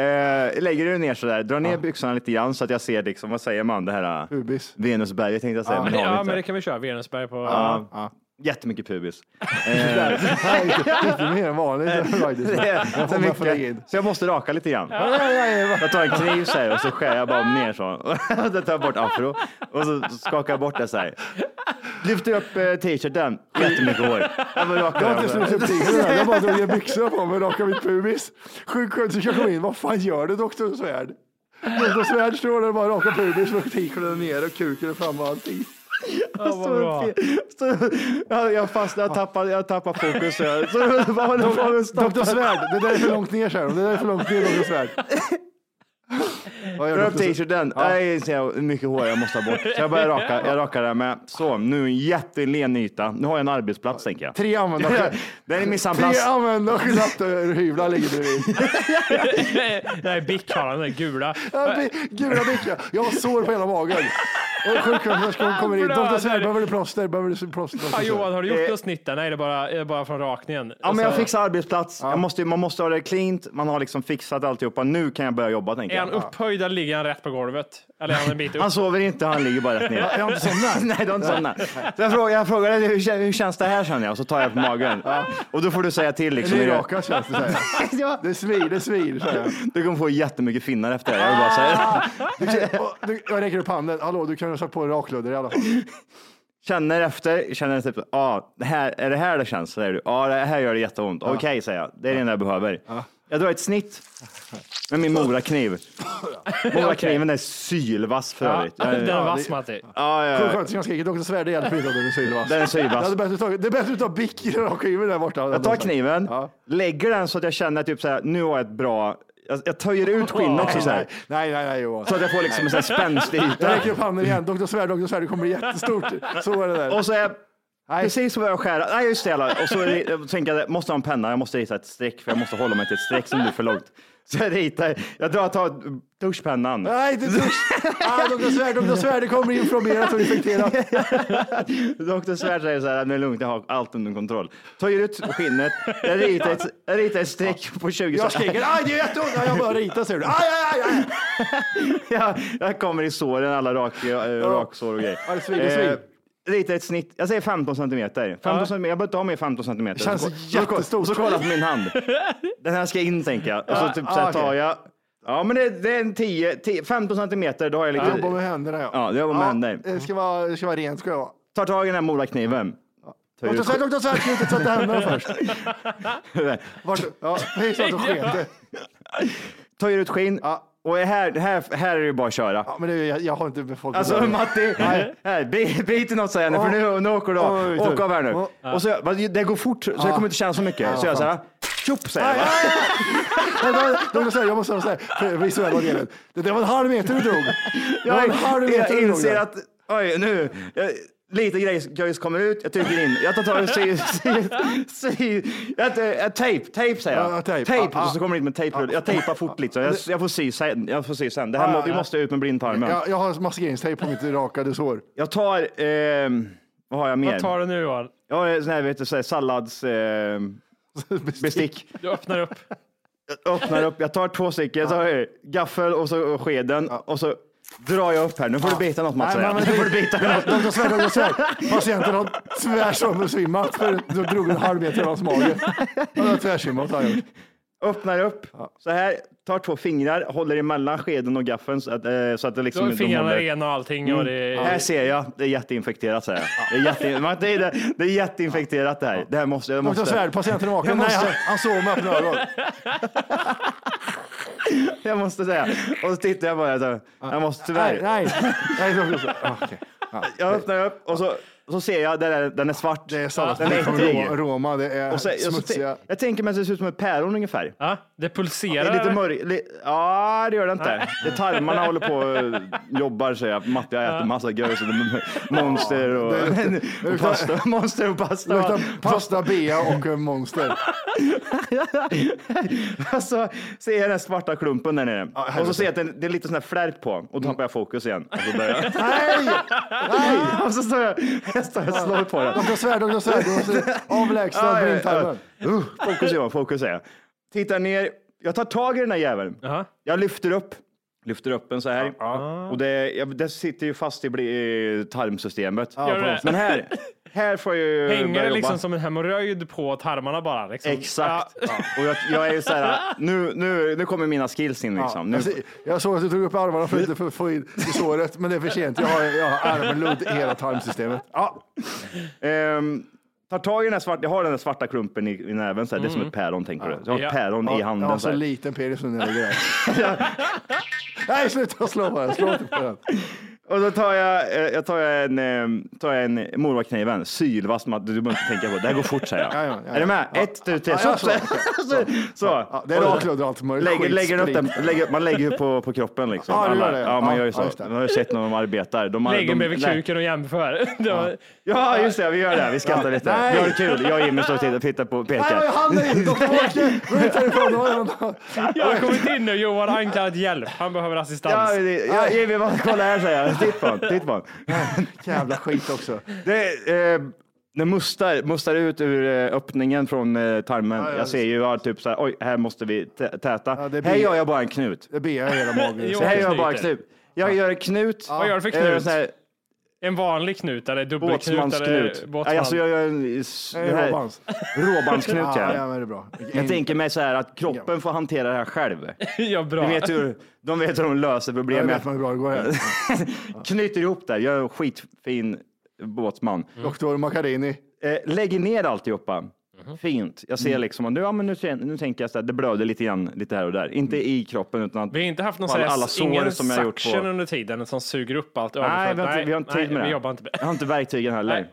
Speaker 5: Eh, lägger du ner sådär, drar ner byxorna lite grann så att jag ser liksom, vad säger man, det här eh,
Speaker 1: Pubis.
Speaker 5: Venusberget tänkte jag säga. men det har vi
Speaker 4: Ja,
Speaker 5: inte.
Speaker 4: men det kan vi köra. Venusberg på...
Speaker 5: Ja. Jättemycket pubis.
Speaker 1: Nej, lite- Lite mer än vanligt faktiskt.
Speaker 5: Det är
Speaker 1: Jag
Speaker 5: så
Speaker 1: får bara få lägga in.
Speaker 5: mycket. Så jag måste raka lite grann.
Speaker 1: Nej, nej, nej.
Speaker 5: Jag tar en kniv så här och så skär jag bara om ner så. Och så tar jag bort afro och så skakar jag bort det så här. Lyfter upp eh, t-shirten, jättemycket hår. Jag bara rakar
Speaker 1: Jag har inte
Speaker 5: den.
Speaker 1: slut upp tigern Jag bara drog ner byxorna på mig och rakade mitt pubis. Sjuksköterskan kom in. Vad fan gör du doktor Svärd? Doktor Svärd står där och bara rakar pubis med tigern nere och kuken är framme och allting.
Speaker 4: Ja, vad bra.
Speaker 5: Så, jag, jag fastnar, jag tappar, jag tappar fokus. Så jag, så, vad håller du på med? Stopp.
Speaker 1: Doktor Svärd, det där är för långt ner säger de. Det där är för långt ner doktor Svärd. Vad gör
Speaker 5: Drar upp
Speaker 1: doktor Svärd?
Speaker 5: t-shirten.
Speaker 1: Ja.
Speaker 5: Nej, så jag- hur mycket hår jag måste ha bort. Så jag börjar raka, jag rakar det här med. Så, nu en jättelen yta. Nu har jag en arbetsplats tänker jag.
Speaker 1: Tre använda-
Speaker 5: Den är min
Speaker 1: Tre
Speaker 5: samplats.
Speaker 1: använda skyllapphyvlar ligger bredvid.
Speaker 4: Nej, Bic har han, den där gula.
Speaker 1: Ja, bi- Gula bicka. Jag har sår på hela magen. Och sjuksköterskan kommer in. Doktor Svärd, behöver du plåster? Behöver du plåster? Dr.
Speaker 4: Ja,
Speaker 1: Svärd?
Speaker 4: Johan, har du gjort
Speaker 5: Eh.
Speaker 4: något snitt där? Nej, det är bara, det är bara från rakningen.
Speaker 5: Ja, men jag
Speaker 4: Alltså,
Speaker 5: fixar arbetsplats. Jag måste, man måste ha det cleant. Man har liksom fixat alltihopa. Nu kan jag börja jobba tänker
Speaker 4: Är han
Speaker 5: jag.
Speaker 4: upphöjd eller ligger han rätt på golvet? Eller är han en bit upp?
Speaker 5: Han sover inte, han ligger bara rätt ner.
Speaker 1: Jag har inte somnat.
Speaker 5: Nej, du har inte somnat. Så jag frågar, jag frågar hur, kän- hur känns det här känner jag? Och så tar jag på magen. Och då får du säga till liksom.
Speaker 1: Det är
Speaker 5: hur-
Speaker 1: raka känns det säger jag. Det svir, det svir säger jag.
Speaker 5: Du kommer få jättemycket finnar efter det. här. Jag vill bara säga
Speaker 1: Du kan- och du- Jag räcker upp handen. Hallå, du kan ju ha satt på en rakludder i alla fall.
Speaker 5: Känner efter, känner typ, ja, ah, det här, är det här det känns? Säger du. Ja, ah, det här gör det jätteont. Okej, säger jag. Det är det enda jag behöver. Jag drar ett snitt med min morakniv. Morakniven är sylvass för
Speaker 4: Ja,
Speaker 5: övrigt. Ja,
Speaker 4: den är
Speaker 5: ja,
Speaker 4: vass, Matti.
Speaker 5: ja.
Speaker 1: Sjuksköterskan skriker Doktor Svärd, det hjälper inte att du är sylvass.
Speaker 5: Eh. Den är sylvass.
Speaker 1: Det hade bättre tagit- det är bättre att ta bick i den rakhyveln där borta.
Speaker 5: Jag tar kniven,
Speaker 1: Ja.
Speaker 5: lägger den så att jag känner typ så här, nu har jag ett bra, jag, jag töjer ut skinn också så här.
Speaker 1: Nej, nej, nej, nej Johan.
Speaker 5: Så att jag får liksom en sån här spänstig
Speaker 1: Jag
Speaker 5: yta.
Speaker 1: räcker upp handen igen. Doktor Svärd, Doktor Svärd, det kommer bli jättestort. Så är det där.
Speaker 5: Och så är jag, precis som jag skära, nej just det jävlar. Och så är det- jag tänker jag, måste ha en penna, jag måste rita ett streck för jag måste hålla mig till ett streck som blir för långt. Så jag ritar, jag drar, tar tuschpennan.
Speaker 1: Nej, det dusch. Ah, Doktor Svärd, Doktor Svärd, det kommer inflammerat och infekterat.
Speaker 5: Doktor Svärd säger så här, det är lugnt, jag har allt under kontroll. Töjer ut skinnet, jag ritar ett, jag ritar ett streck på 20
Speaker 1: Jag skriker, aj det är jätteont. Ja, Jag börjar rita ser du. Aj, aj, aj, aj.
Speaker 5: jag, jag kommer i såren, alla rak, eh, raksår och grejer. Eh,
Speaker 1: Ja, det svider, svider.
Speaker 5: Lite ett snitt, jag säger 15 centimeter. 15 centimeter. Jag behöver inte ha mer 15 centimeter.
Speaker 1: Det känns
Speaker 5: Så-
Speaker 1: jättestort.
Speaker 5: Så, så kollar jag på min hand. Den här ska in tänker jag. Och så typ så
Speaker 1: ah,
Speaker 5: här tar
Speaker 1: okej.
Speaker 5: jag. Ja men det, det är en 10, 10, 15 centimeter. Då har jag
Speaker 1: Jag jobbar med
Speaker 5: lite.
Speaker 1: händerna ja.
Speaker 5: Ja, det jobbar med händer.
Speaker 1: Det ska vara, det ska vara rent ska jag vara.
Speaker 5: Tar tag i den här morakniven. Tar ut
Speaker 1: Doktor Svärd, Doktor Svärd, slutet tvätta händerna först.
Speaker 5: sk-
Speaker 1: Vart, ja, precis att de sket det.
Speaker 5: Tar ut skinn. Och här, här, här är det ju bara att köra.
Speaker 1: Ja, men det, är ju- jag, jag har inte befolkning.
Speaker 5: Alltså Matti, här, bi- bit i något säger jag nu, för nu, nu åker du av.
Speaker 1: Oj,
Speaker 5: Åk
Speaker 1: du.
Speaker 5: av här nu.
Speaker 1: Ja.
Speaker 5: Och så, vad, det går fort, så jag kommer inte känna så mycket. Så jag så här, tjopp säger jag. va?
Speaker 1: Doktor Svärd, jag måste säga för visuella delen. Det där var en halv meter du drog. Det var en halv
Speaker 5: Jag,
Speaker 1: meter du drog
Speaker 5: inser
Speaker 1: där.
Speaker 5: att, oj nu, jag, lite grejs kommer ut, jag trycker in, jag tar tag i sy, sy, sy, jag, jag, tejp, tejp säger jag.
Speaker 1: Ja, ja, tejp.
Speaker 5: Tejp,
Speaker 1: Ja,
Speaker 5: och så
Speaker 1: ja.
Speaker 5: kommer det in med tejprulle. Jag tejpar fort lite, så jag, jag får sy sen. Jag får sy sen. Det här,
Speaker 1: Ja,
Speaker 5: må- vi
Speaker 1: ja.
Speaker 5: måste ut med blindtarmen.
Speaker 1: Jag, jag har maskeringstejp på mitt rakade sår.
Speaker 5: Jag tar, ehm, vad har jag mer?
Speaker 4: Vad tar du nu, Johan?
Speaker 5: Jag har sån här, vet du, så här, sallads... ehm, bestick.
Speaker 4: Du öppnar upp.
Speaker 5: Jag öppnar upp, jag tar två stycken, så har jag gaffel och så skeden och så drar jag upp här. Nu får du bita något Mats.
Speaker 1: Nej,
Speaker 5: säger jag.
Speaker 1: men-
Speaker 5: Nu får du bita något.
Speaker 1: Doktor Svärd, Doktor Svärd. Patienten har tvärsommersvimmat för du drog en halv meter i hans mage. Han har tvärsvimmat har han gjort.
Speaker 5: Öppnar upp så här, tar två fingrar, håller emellan skeden och gaffeln så att, eh, så att det
Speaker 4: Du
Speaker 5: liksom
Speaker 4: har
Speaker 5: inte
Speaker 4: fingrarna
Speaker 5: håller.
Speaker 4: rena och allting. Och det,
Speaker 5: Här ser jag, det är jätteinfekterat säger jag. Det är, jätte, Mats, det är, det- det är jätteinfekterat det här. Det här måste jag.
Speaker 1: Doktor
Speaker 5: Måste,
Speaker 1: Svärd, patienten är vaken.
Speaker 5: Jag
Speaker 1: Nej,
Speaker 5: måste-
Speaker 1: han, han sov med öppna ögon.
Speaker 5: jag måste säga. Och så tittar jag bara, jag, jag måste tyvärr.
Speaker 1: Nej, nej. nej doktor Svärd. Ah, okej.
Speaker 5: Jag öppnar upp och så Så ser jag, den är, den är svart.
Speaker 1: Det är
Speaker 5: den
Speaker 1: salladsbord
Speaker 5: är
Speaker 1: från
Speaker 5: äcklig.
Speaker 1: Ro- Roma, det är
Speaker 5: Och så, jag, så,
Speaker 1: smutsiga.
Speaker 5: jag tänker mig att det ser ut som ett päron ungefär.
Speaker 4: Ja, det
Speaker 5: Det
Speaker 4: pulserar.
Speaker 5: är lite mörk... Li, ja, det gör det inte. Det är tarmarna håller på och jobbar säger jag. Matte har ätit massa gös och det är monster och, och pasta. Monster och
Speaker 1: Det
Speaker 5: pasta.
Speaker 1: luktar pasta, bea och eh, monster.
Speaker 5: Och så ser jag den här svarta klumpen där nere.
Speaker 1: helvete.
Speaker 5: och så ser jag att det, det är lite sån här flärp på. Och då tappar jag fokus igen. Och så börjar jag.
Speaker 1: Nej! Nej!
Speaker 5: och så står jag, jag står och slår på den.
Speaker 1: Dr. Svärd, Dr. Svärd, Dr. Svärd. avlägsna
Speaker 5: Aj, aj,
Speaker 1: blindtarmen.
Speaker 5: aj. Uh, Fokus Johan, fokus säger jag. Tittar ner, jag tar tag i den här jäveln. Jag lyfter upp, lyfter upp den så här. Och det, jag, det sitter ju fast i bli- i tarmsystemet.
Speaker 4: Gör det?
Speaker 5: Men här, här får jag ju
Speaker 4: Hänger
Speaker 5: börja
Speaker 4: det liksom
Speaker 5: jobba.
Speaker 4: som en hemorrojd på tarmarna bara? Liksom.
Speaker 5: Exakt.
Speaker 4: Ja.
Speaker 5: Och jag, jag är ju så här, nu, nu, nu kommer mina skills in liksom. Nu,
Speaker 1: Jag,
Speaker 4: alltså,
Speaker 1: ser- Alltså, jag såg att du drog upp armarna för att inte få- få in i såret, men det är för sent. Jag har, jag har armludd i hela tarmsystemet.
Speaker 5: Ja. Ehm, tar tag i den här svarta, jag har den här svarta klumpen i, i näven, så här, det är som ett päron tänker du. Jag har ett
Speaker 4: Mm. Ja.
Speaker 5: päron i
Speaker 1: Jag
Speaker 5: handen.
Speaker 1: har
Speaker 5: så
Speaker 1: så
Speaker 5: här.
Speaker 1: liten penis nu när jag gör. Nej, sluta slå på den. Slå inte på den.
Speaker 5: Och då tar jag, eh, jag tar jag en, eh, tar jag en morvaktkniven, sylvass, Matt, du behöver inte tänka på det, det här går fort säger jag.
Speaker 1: Ja, ja, ja,
Speaker 5: är du
Speaker 1: ja.
Speaker 5: med? Ett, tu, tre,
Speaker 1: Ja, ja,
Speaker 5: så.
Speaker 1: så,
Speaker 5: så. så.
Speaker 1: Ja, det är rakludd och allt möjligt.
Speaker 5: Lägger,
Speaker 1: Skit,
Speaker 5: lägger upp
Speaker 1: sprit.
Speaker 5: den, lägger, man lägger ju på, på kroppen liksom.
Speaker 1: Ja, det gör
Speaker 5: Alla-
Speaker 1: det.
Speaker 5: ja, man
Speaker 1: Ja,
Speaker 5: gör ju
Speaker 1: ja,
Speaker 5: så.
Speaker 1: just det.
Speaker 5: Man har ju sett när de arbetar. De, har-
Speaker 4: Lägger
Speaker 5: de-
Speaker 4: bredvid
Speaker 5: nej.
Speaker 4: kuken och jämför. Det var-
Speaker 5: Ja, just det, vi gör det. Vi skrattar lite.
Speaker 1: Nej.
Speaker 5: Vi har det kul. Jag och Jimmy står och tittar- tittar på och
Speaker 1: Nej, jag
Speaker 5: pekar.
Speaker 1: har handen i doktor Åke. Gå ut härifrån. Det var någon-
Speaker 4: Jag har kommit in nu Johan, han kan inte hjälp. Han behöver assistans.
Speaker 5: Ja, det- ja, Jimmy, vad- kolla här säger jag. Titta på honom, titta på honom.
Speaker 1: Jävla skit också.
Speaker 5: Det, eh, det mustar, mustar ut ur eh, öppningen från eh, tarmen.
Speaker 1: ja,
Speaker 5: jag ser ju ja, typ så här, oj, här måste vi tä- täta.
Speaker 1: Ja, det blir-
Speaker 5: Här gör jag bara en knut.
Speaker 1: Det ber jag i hela magen.
Speaker 4: Jo.
Speaker 5: här gör jag
Speaker 4: knuten.
Speaker 5: bara en knut. Jag gör en knut.
Speaker 4: Vad gör du för
Speaker 5: Jag gör en
Speaker 4: knut?
Speaker 5: sån Eh, här
Speaker 4: En vanlig knut eller dubbelknut?
Speaker 5: Båtsmansknut.
Speaker 4: Eller eh, båtsman.
Speaker 5: Nej, Alltså jag gör en s-
Speaker 1: Nej,
Speaker 5: den här
Speaker 1: råbands.
Speaker 5: råbandsknut.
Speaker 1: Ja,
Speaker 5: gör
Speaker 1: ja,
Speaker 5: jag.
Speaker 1: men det är bra.
Speaker 5: jag tänker mig så här att kroppen får hantera det här själv.
Speaker 4: ja, bra.
Speaker 5: De vet hur de, vet hur de löser
Speaker 1: Jag
Speaker 5: problem med
Speaker 1: vet man hur bra det går här.
Speaker 5: att knyter ihop det. Jag är en skitfin båtsman.
Speaker 1: Doktor Macarini.
Speaker 5: Eh, lägger ner alltihopa.
Speaker 4: Mhm.
Speaker 5: Fint. Jag
Speaker 4: Mm.
Speaker 5: ser liksom, att nu, ja, men nu, tän- nu tänker jag så här, det blöder lite grann, lite här och där. Inte i kroppen utan att...
Speaker 4: Mm. Vi har inte haft någon
Speaker 5: Alla-
Speaker 4: sån här-
Speaker 5: alla sår
Speaker 4: ingen
Speaker 5: som jag har gjort på-
Speaker 4: suction under tiden som suger upp allt
Speaker 5: Nej,
Speaker 4: överflöd.
Speaker 5: vi har, inte, vi har inte
Speaker 4: nej,
Speaker 5: tid med det.
Speaker 4: Vi jobbar inte med
Speaker 5: Jag har inte verktygen heller.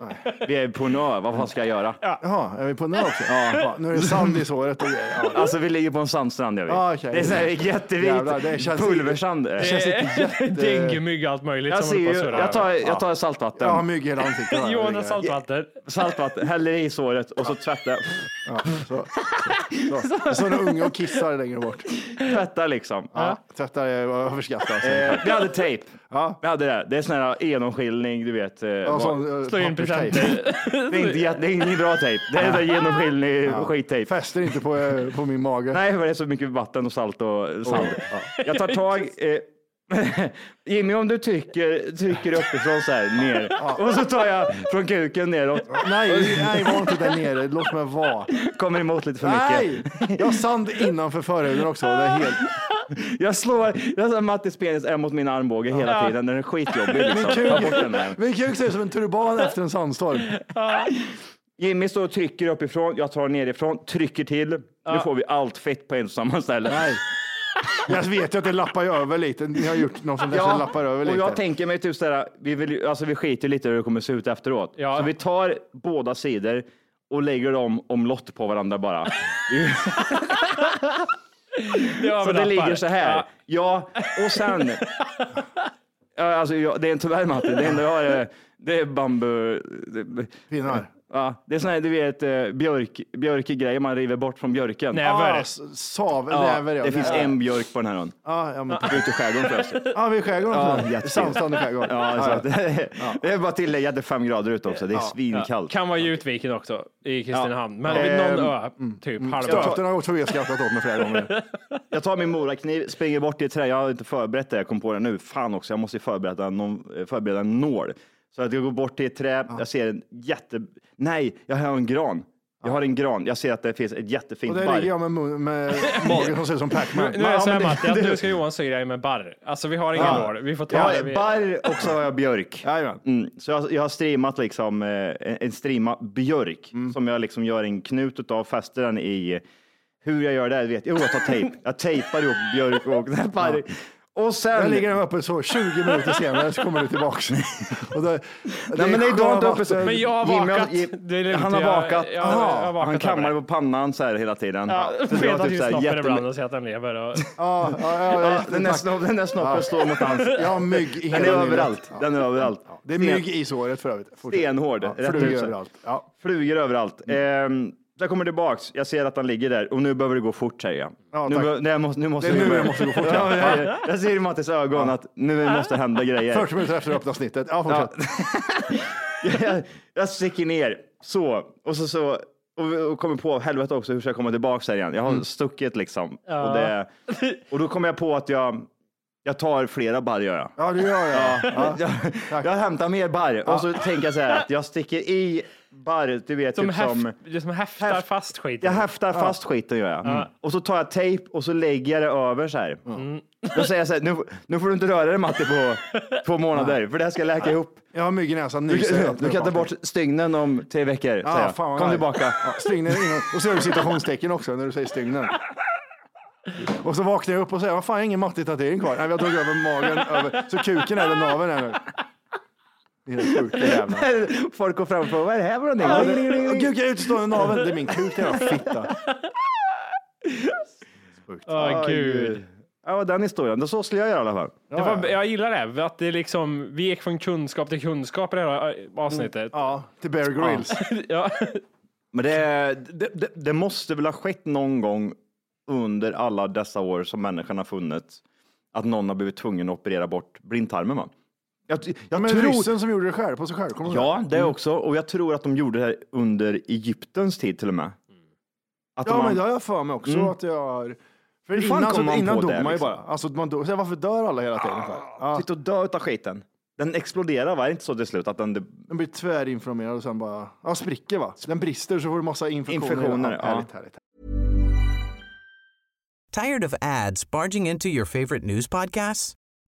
Speaker 5: Vi är på en ö, vad fan ska jag göra?
Speaker 1: Jaha, är vi på nu också? Ja. Nu är det sand i såret. och grejer. Ja.
Speaker 5: Alltså vi ligger på en sandstrand gör vi.
Speaker 1: Ja, okej.
Speaker 5: Det är så här jättevit
Speaker 1: Jävlar, det känns-
Speaker 5: pulversand.
Speaker 4: Dengue-mygg och allt möjligt
Speaker 5: jag
Speaker 4: som
Speaker 5: ser
Speaker 4: håller
Speaker 5: ju,
Speaker 4: på att surra.
Speaker 5: jag tar, jag tar saltvatten.
Speaker 1: Jag har mygg i hela ansiktet. här.
Speaker 4: Johan har saltvatten.
Speaker 5: Saltvatten, häller i såret och så tvättar jag.
Speaker 1: Ja, så, så, så. Jag såg en unge och kissade längre bort.
Speaker 5: Tvättar liksom.
Speaker 1: Ja, tvättar är överskattat. Alltså.
Speaker 5: Eh, vi hade tejp.
Speaker 1: Ja.
Speaker 5: Vi hade det. Det är sån här genomskinlig, du vet. eh,
Speaker 1: Ja,
Speaker 5: vad-
Speaker 1: sån, eh,
Speaker 4: Slå in
Speaker 1: papperstejp.
Speaker 4: presenter.
Speaker 5: Det är, inte, jätte- det är ingen bra tejp. Det är sån genomskinlig skittejp.
Speaker 1: Fäster inte på, eh, på min mage.
Speaker 5: Nej, för det är så mycket vatten och salt och sand. Jag tar tag. Eh, Jimmy, om du trycker, trycker uppifrån så här ner och så tar jag från kuken neråt.
Speaker 1: nej, nej, var inte där nere. Låt mig vara.
Speaker 5: Kommer emot lite för
Speaker 1: Nej,
Speaker 5: mycket.
Speaker 1: jag har sand innanför förhuden också. Det är helt...
Speaker 5: Jag slår, jag slår Mattis penis är mot min armbåge hela tiden. Den är skitjobbig. Liksom. Ta bort den här.
Speaker 1: Min kuk ser ut som en turban efter en sandstorm.
Speaker 5: Jimmy står och trycker uppifrån. Jag tar nerifrån, trycker till. Nu får vi allt fett på en och samma ställe.
Speaker 1: Nej. Jag vet ju att det lappar ju över lite. Ni har gjort något som kanske lappar över lite.
Speaker 5: och jag tänker mig typ sådär, vi, vill, ju- alltså vi skiter lite i hur det kommer se ut efteråt.
Speaker 4: Ja.
Speaker 5: Så vi tar båda sidor och lägger dem omlott på varandra bara. så det ligger så här. Ja, och sen. Ja, alltså, jag, det är tyvärr Matte, det enda jag har är, det är bambu. Det,
Speaker 1: Pinnar.
Speaker 5: ja, det är sån här, du vet, eh, björk, björkgrejer man river bort från björken.
Speaker 4: Näver.
Speaker 1: Ah, s- sav,
Speaker 5: Ja,
Speaker 1: näver ja.
Speaker 5: det finns
Speaker 1: Näver.
Speaker 5: en björk på den här ön.
Speaker 1: Ja, ja, men...
Speaker 5: Ute i skärgården förresten.
Speaker 1: ja vi är i skärgården.
Speaker 5: Ja,
Speaker 1: också.
Speaker 5: jättefint.
Speaker 1: Sandstrand i skärgården.
Speaker 5: Ja, så att, det är bara att tillägga att det är fem grader ute också. Det är svinkallt.
Speaker 4: Kan vara i Utviken också, i Kristinehamn. Men
Speaker 5: Ja.
Speaker 4: vid någon
Speaker 5: Ehm,
Speaker 4: ö, typ halva.
Speaker 1: Stöten har gått förbi och skrattat åt mig flera gånger.
Speaker 5: Jag tar min morakniv, springer bort till ett träd. Jag har inte förberett det. Jag kom på det nu. Fan också, jag måste ju förbereda, någon, eh, förbereda en nål. Så att jag går bort till ett träd. Jag ser en jätte... Nej, jag har en gran. Jag har en gran. Jag ser att det finns ett jättefint
Speaker 1: Och där
Speaker 5: barr.
Speaker 1: ligger jag med, mun- med magen som ser ut som Pac-Man.
Speaker 4: Nu är det så här
Speaker 5: men det-
Speaker 4: Matti, att
Speaker 5: det-
Speaker 4: nu ska Johan sy dig med barr. Alltså vi har ingen lår. Vi får
Speaker 5: Jag
Speaker 4: ta det.
Speaker 5: har
Speaker 4: vi-
Speaker 5: barr och så har jag björk.
Speaker 1: Jajamän.
Speaker 5: Mm. Så jag, jag har streamat liksom, eh, en, en streama björk som jag liksom gör en knut utav, fäster den i. Hur jag gör det här vet jag. Jo, jag tar tejp. Jag tejpar ihop björk och den här barr. Och
Speaker 1: Där
Speaker 5: sen...
Speaker 1: ligger den uppe så 20 minuter senare så kommer du tillbaks. Och det, det
Speaker 5: Nej, men nej, du har inte uppe så.
Speaker 1: sjövatten.
Speaker 4: Men jag har
Speaker 5: Jimmy
Speaker 4: vakat. Det är lugnt,
Speaker 5: han har
Speaker 4: jag-
Speaker 5: vakat.
Speaker 4: jag- jag har
Speaker 5: Aha,
Speaker 4: vakat
Speaker 5: han
Speaker 4: över
Speaker 5: kammar
Speaker 4: det.
Speaker 5: på pannan så här hela tiden.
Speaker 4: Ja,
Speaker 5: Så du har
Speaker 4: Fredag
Speaker 5: typ
Speaker 4: till
Speaker 5: så här
Speaker 4: snoppen
Speaker 5: jättemy-
Speaker 4: ibland och se att den lever. Och...
Speaker 1: Ja, ja, ja,
Speaker 5: Ja,
Speaker 1: just det,
Speaker 5: Den där
Speaker 1: tack.
Speaker 5: snoppen- den där snoppen
Speaker 1: Ja.
Speaker 5: slår mot hans.
Speaker 1: Jag har mygg i
Speaker 5: Den är
Speaker 1: hela nyllet.
Speaker 5: överallt.
Speaker 1: Ja.
Speaker 5: Den är överallt.
Speaker 1: Det är mygg i såret för övrigt. Fortsätt.
Speaker 5: Stenhård.
Speaker 1: Ja,
Speaker 5: Rätt
Speaker 1: flugor
Speaker 5: ut så.
Speaker 1: överallt. Ja.
Speaker 5: Flugor överallt.
Speaker 1: Mm.
Speaker 5: Ehm, jag kommer tillbaks. Jag ser att han ligger där och nu behöver det gå fort säger jag.
Speaker 1: Ja,
Speaker 5: nu,
Speaker 1: tack.
Speaker 5: be- nej, jag måste, nu måste
Speaker 1: Det är
Speaker 5: vi
Speaker 1: nu
Speaker 5: börja.
Speaker 1: jag måste gå fort,
Speaker 5: Ja,
Speaker 1: ja.
Speaker 5: jag- jag- jag ser i Mattis ögon att nu måste hända grejer.
Speaker 1: 40 minuter efter öppna snittet. Ja, fortsätt.
Speaker 5: jag, jag sticker ner så och så så och, och kommer på helvete också hur ska jag komma tillbaka här igen? Jag har
Speaker 4: Mm.
Speaker 5: stuckit liksom och, det, och då kommer jag på att jag jag tar flera barr gör jag.
Speaker 1: Ja, det gör jag. Ja.
Speaker 5: Jag, jag hämtar mer barr och så tänker jag så här att jag sticker i barr, du vet,
Speaker 4: Som,
Speaker 5: typ
Speaker 4: häft,
Speaker 5: som
Speaker 4: det är som häftar
Speaker 5: Häft-
Speaker 4: fast skiten.
Speaker 5: jag häftar fast skiten gör jag. Och så tar jag tejp och så lägger jag det över så här.
Speaker 4: Mm.
Speaker 5: Då säger jag så här, nu, nu får du inte röra dig Matti på två månader, för det här ska läka ihop.
Speaker 1: Jag har mygg i näsan.
Speaker 5: Du,
Speaker 1: nyser
Speaker 5: kan-
Speaker 1: allt
Speaker 5: du
Speaker 1: nu,
Speaker 5: kan ta
Speaker 1: fan.
Speaker 5: bort stygnen om tre veckor. säger jag.
Speaker 1: fan vad
Speaker 5: Kom
Speaker 1: nice.
Speaker 5: tillbaka.
Speaker 1: Ja, stygnen är inne. Och så gör du citationstecken också när du säger stygnen. Och så vaknar jag upp och säger, vad fan, jag har ingen Matti-tatuering kvar. Nej, vi har dragit över magen, över, så kuken är över naveln här nu. Det är den sjuka jävla.
Speaker 5: Folk går fram och frågar, vad är det här för
Speaker 1: Ja,
Speaker 5: någonting?
Speaker 1: det- och Kuken är utstående naveln. Det är min kuk, det är en fitta.
Speaker 4: Åh, gud.
Speaker 5: Ja, det var den historien. Så skulle jag göra i alla fall.
Speaker 4: Det var, jag gillar det, att det liksom, vi gick från kunskap till kunskap i det här äh, avsnittet.
Speaker 1: Ja, till Bear Grylls.
Speaker 5: Mm.
Speaker 4: Ja.
Speaker 5: Men det, det, det, det måste väl ha skett någon gång under alla dessa år som människan har funnits att någon har blivit tvungen att operera bort blindtarmen. Va? Jag, Mm. jag
Speaker 1: Men
Speaker 5: tror,
Speaker 1: ryssen som gjorde det själv, på sig själv. Kommer du ihåg?
Speaker 5: ja, det också. Och jag tror att de gjorde det här under Egyptens tid till och med. Att
Speaker 1: Ja,
Speaker 5: man, Mm.
Speaker 1: men det har jag för mig också att jag har. För
Speaker 5: Hur fan
Speaker 1: innan så,
Speaker 5: kom man
Speaker 1: innan
Speaker 5: på
Speaker 1: dog
Speaker 5: det,
Speaker 1: man ju
Speaker 5: liksom? Ah,
Speaker 1: bara. Alltså, man dog, så här, varför dör alla hela tiden? Ja,
Speaker 5: Sitta och dö utav skiten. Den exploderar, va? Är det inte så till slut? Att den,
Speaker 1: den blir tvärinflammerad och sen bara, ja spricker va? Den brister så får du massa infektioner.
Speaker 5: Infektioner,
Speaker 1: ja.
Speaker 5: ja.
Speaker 1: Härligt, härligt.
Speaker 7: Tired of ads barging into your favorite news podcasts?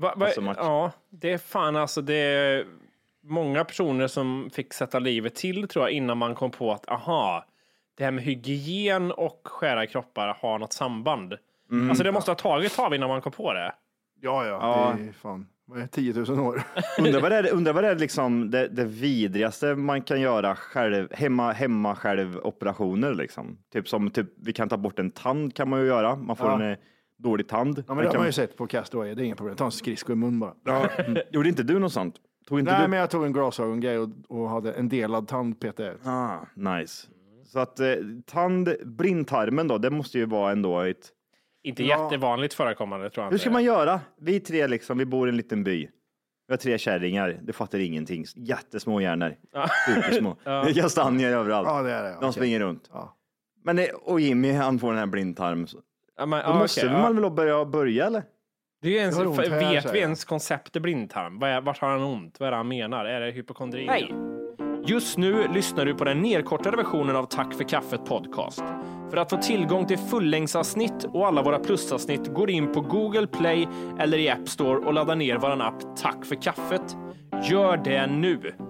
Speaker 4: Va, va,
Speaker 5: Alltså, Martin.
Speaker 4: ja, det är fan alltså, det är många personer som fick sätta livet till tror jag innan man kom på att aha, det här med hygien och skära i kroppar har något samband.
Speaker 5: Mm.
Speaker 4: Alltså det måste ha tagit ett tag innan man kom på det.
Speaker 1: Ja, ja,
Speaker 5: Ja.
Speaker 1: det är fan vad är det, 10 000 år.
Speaker 5: Undrar vad det är, undrar vad det, är liksom det, det vidrigaste man kan göra själv, hemma, hemma själv operationer liksom. Typ som typ, vi kan ta bort en tand kan man ju göra. Man får en eh, dålig tand.
Speaker 1: Ja,
Speaker 5: Den
Speaker 1: men det har
Speaker 5: kan,
Speaker 1: man ju sett på Castaway, det är inga problem. Ta en skridsko i mun bara.
Speaker 5: Mm. Gjorde inte du något sånt? Tog inte
Speaker 1: Nej,
Speaker 5: du?
Speaker 1: men jag tog en glasögongrej och, och hade en delad tand petade jag ut.
Speaker 5: Ah, nice. Så att eh, tand, blindtarmen då, det måste ju vara ändå ett...
Speaker 4: Inte jättevanligt förekommande tror jag.
Speaker 5: Hur
Speaker 4: inte
Speaker 5: ska
Speaker 4: det är.
Speaker 5: man göra? Vi tre liksom, vi bor i en liten by. Vi har tre kärringar, det fattar ingenting. Jättesmå hjärnor. Supersmå. Kastanjer överallt.
Speaker 1: Ja, det är det.
Speaker 5: De
Speaker 1: okej.
Speaker 5: springer runt.
Speaker 1: Ja.
Speaker 5: Men det, och Jimmy, han får den här blindtarmen. Så-
Speaker 4: Ja, men,
Speaker 5: Då
Speaker 4: ja,
Speaker 5: måste
Speaker 4: okej,
Speaker 5: väl
Speaker 4: ja.
Speaker 5: man väl börja, börja eller?
Speaker 4: Det är ju ens,
Speaker 1: Jag har ont här,
Speaker 4: vet
Speaker 1: säger
Speaker 4: vi
Speaker 1: jag.
Speaker 4: ens konceptet blindtarm? Vad är- Vart har han ont? Vad är det han menar? Är det hypokondri?
Speaker 7: Hej!
Speaker 4: Just nu lyssnar du på den nedkortade versionen av Tack för kaffet podcast. För att få tillgång till fullängdsavsnitt och alla våra plusavsnitt går in på Google Play eller i App Store och laddar ner vår app Tack för kaffet. Gör det nu!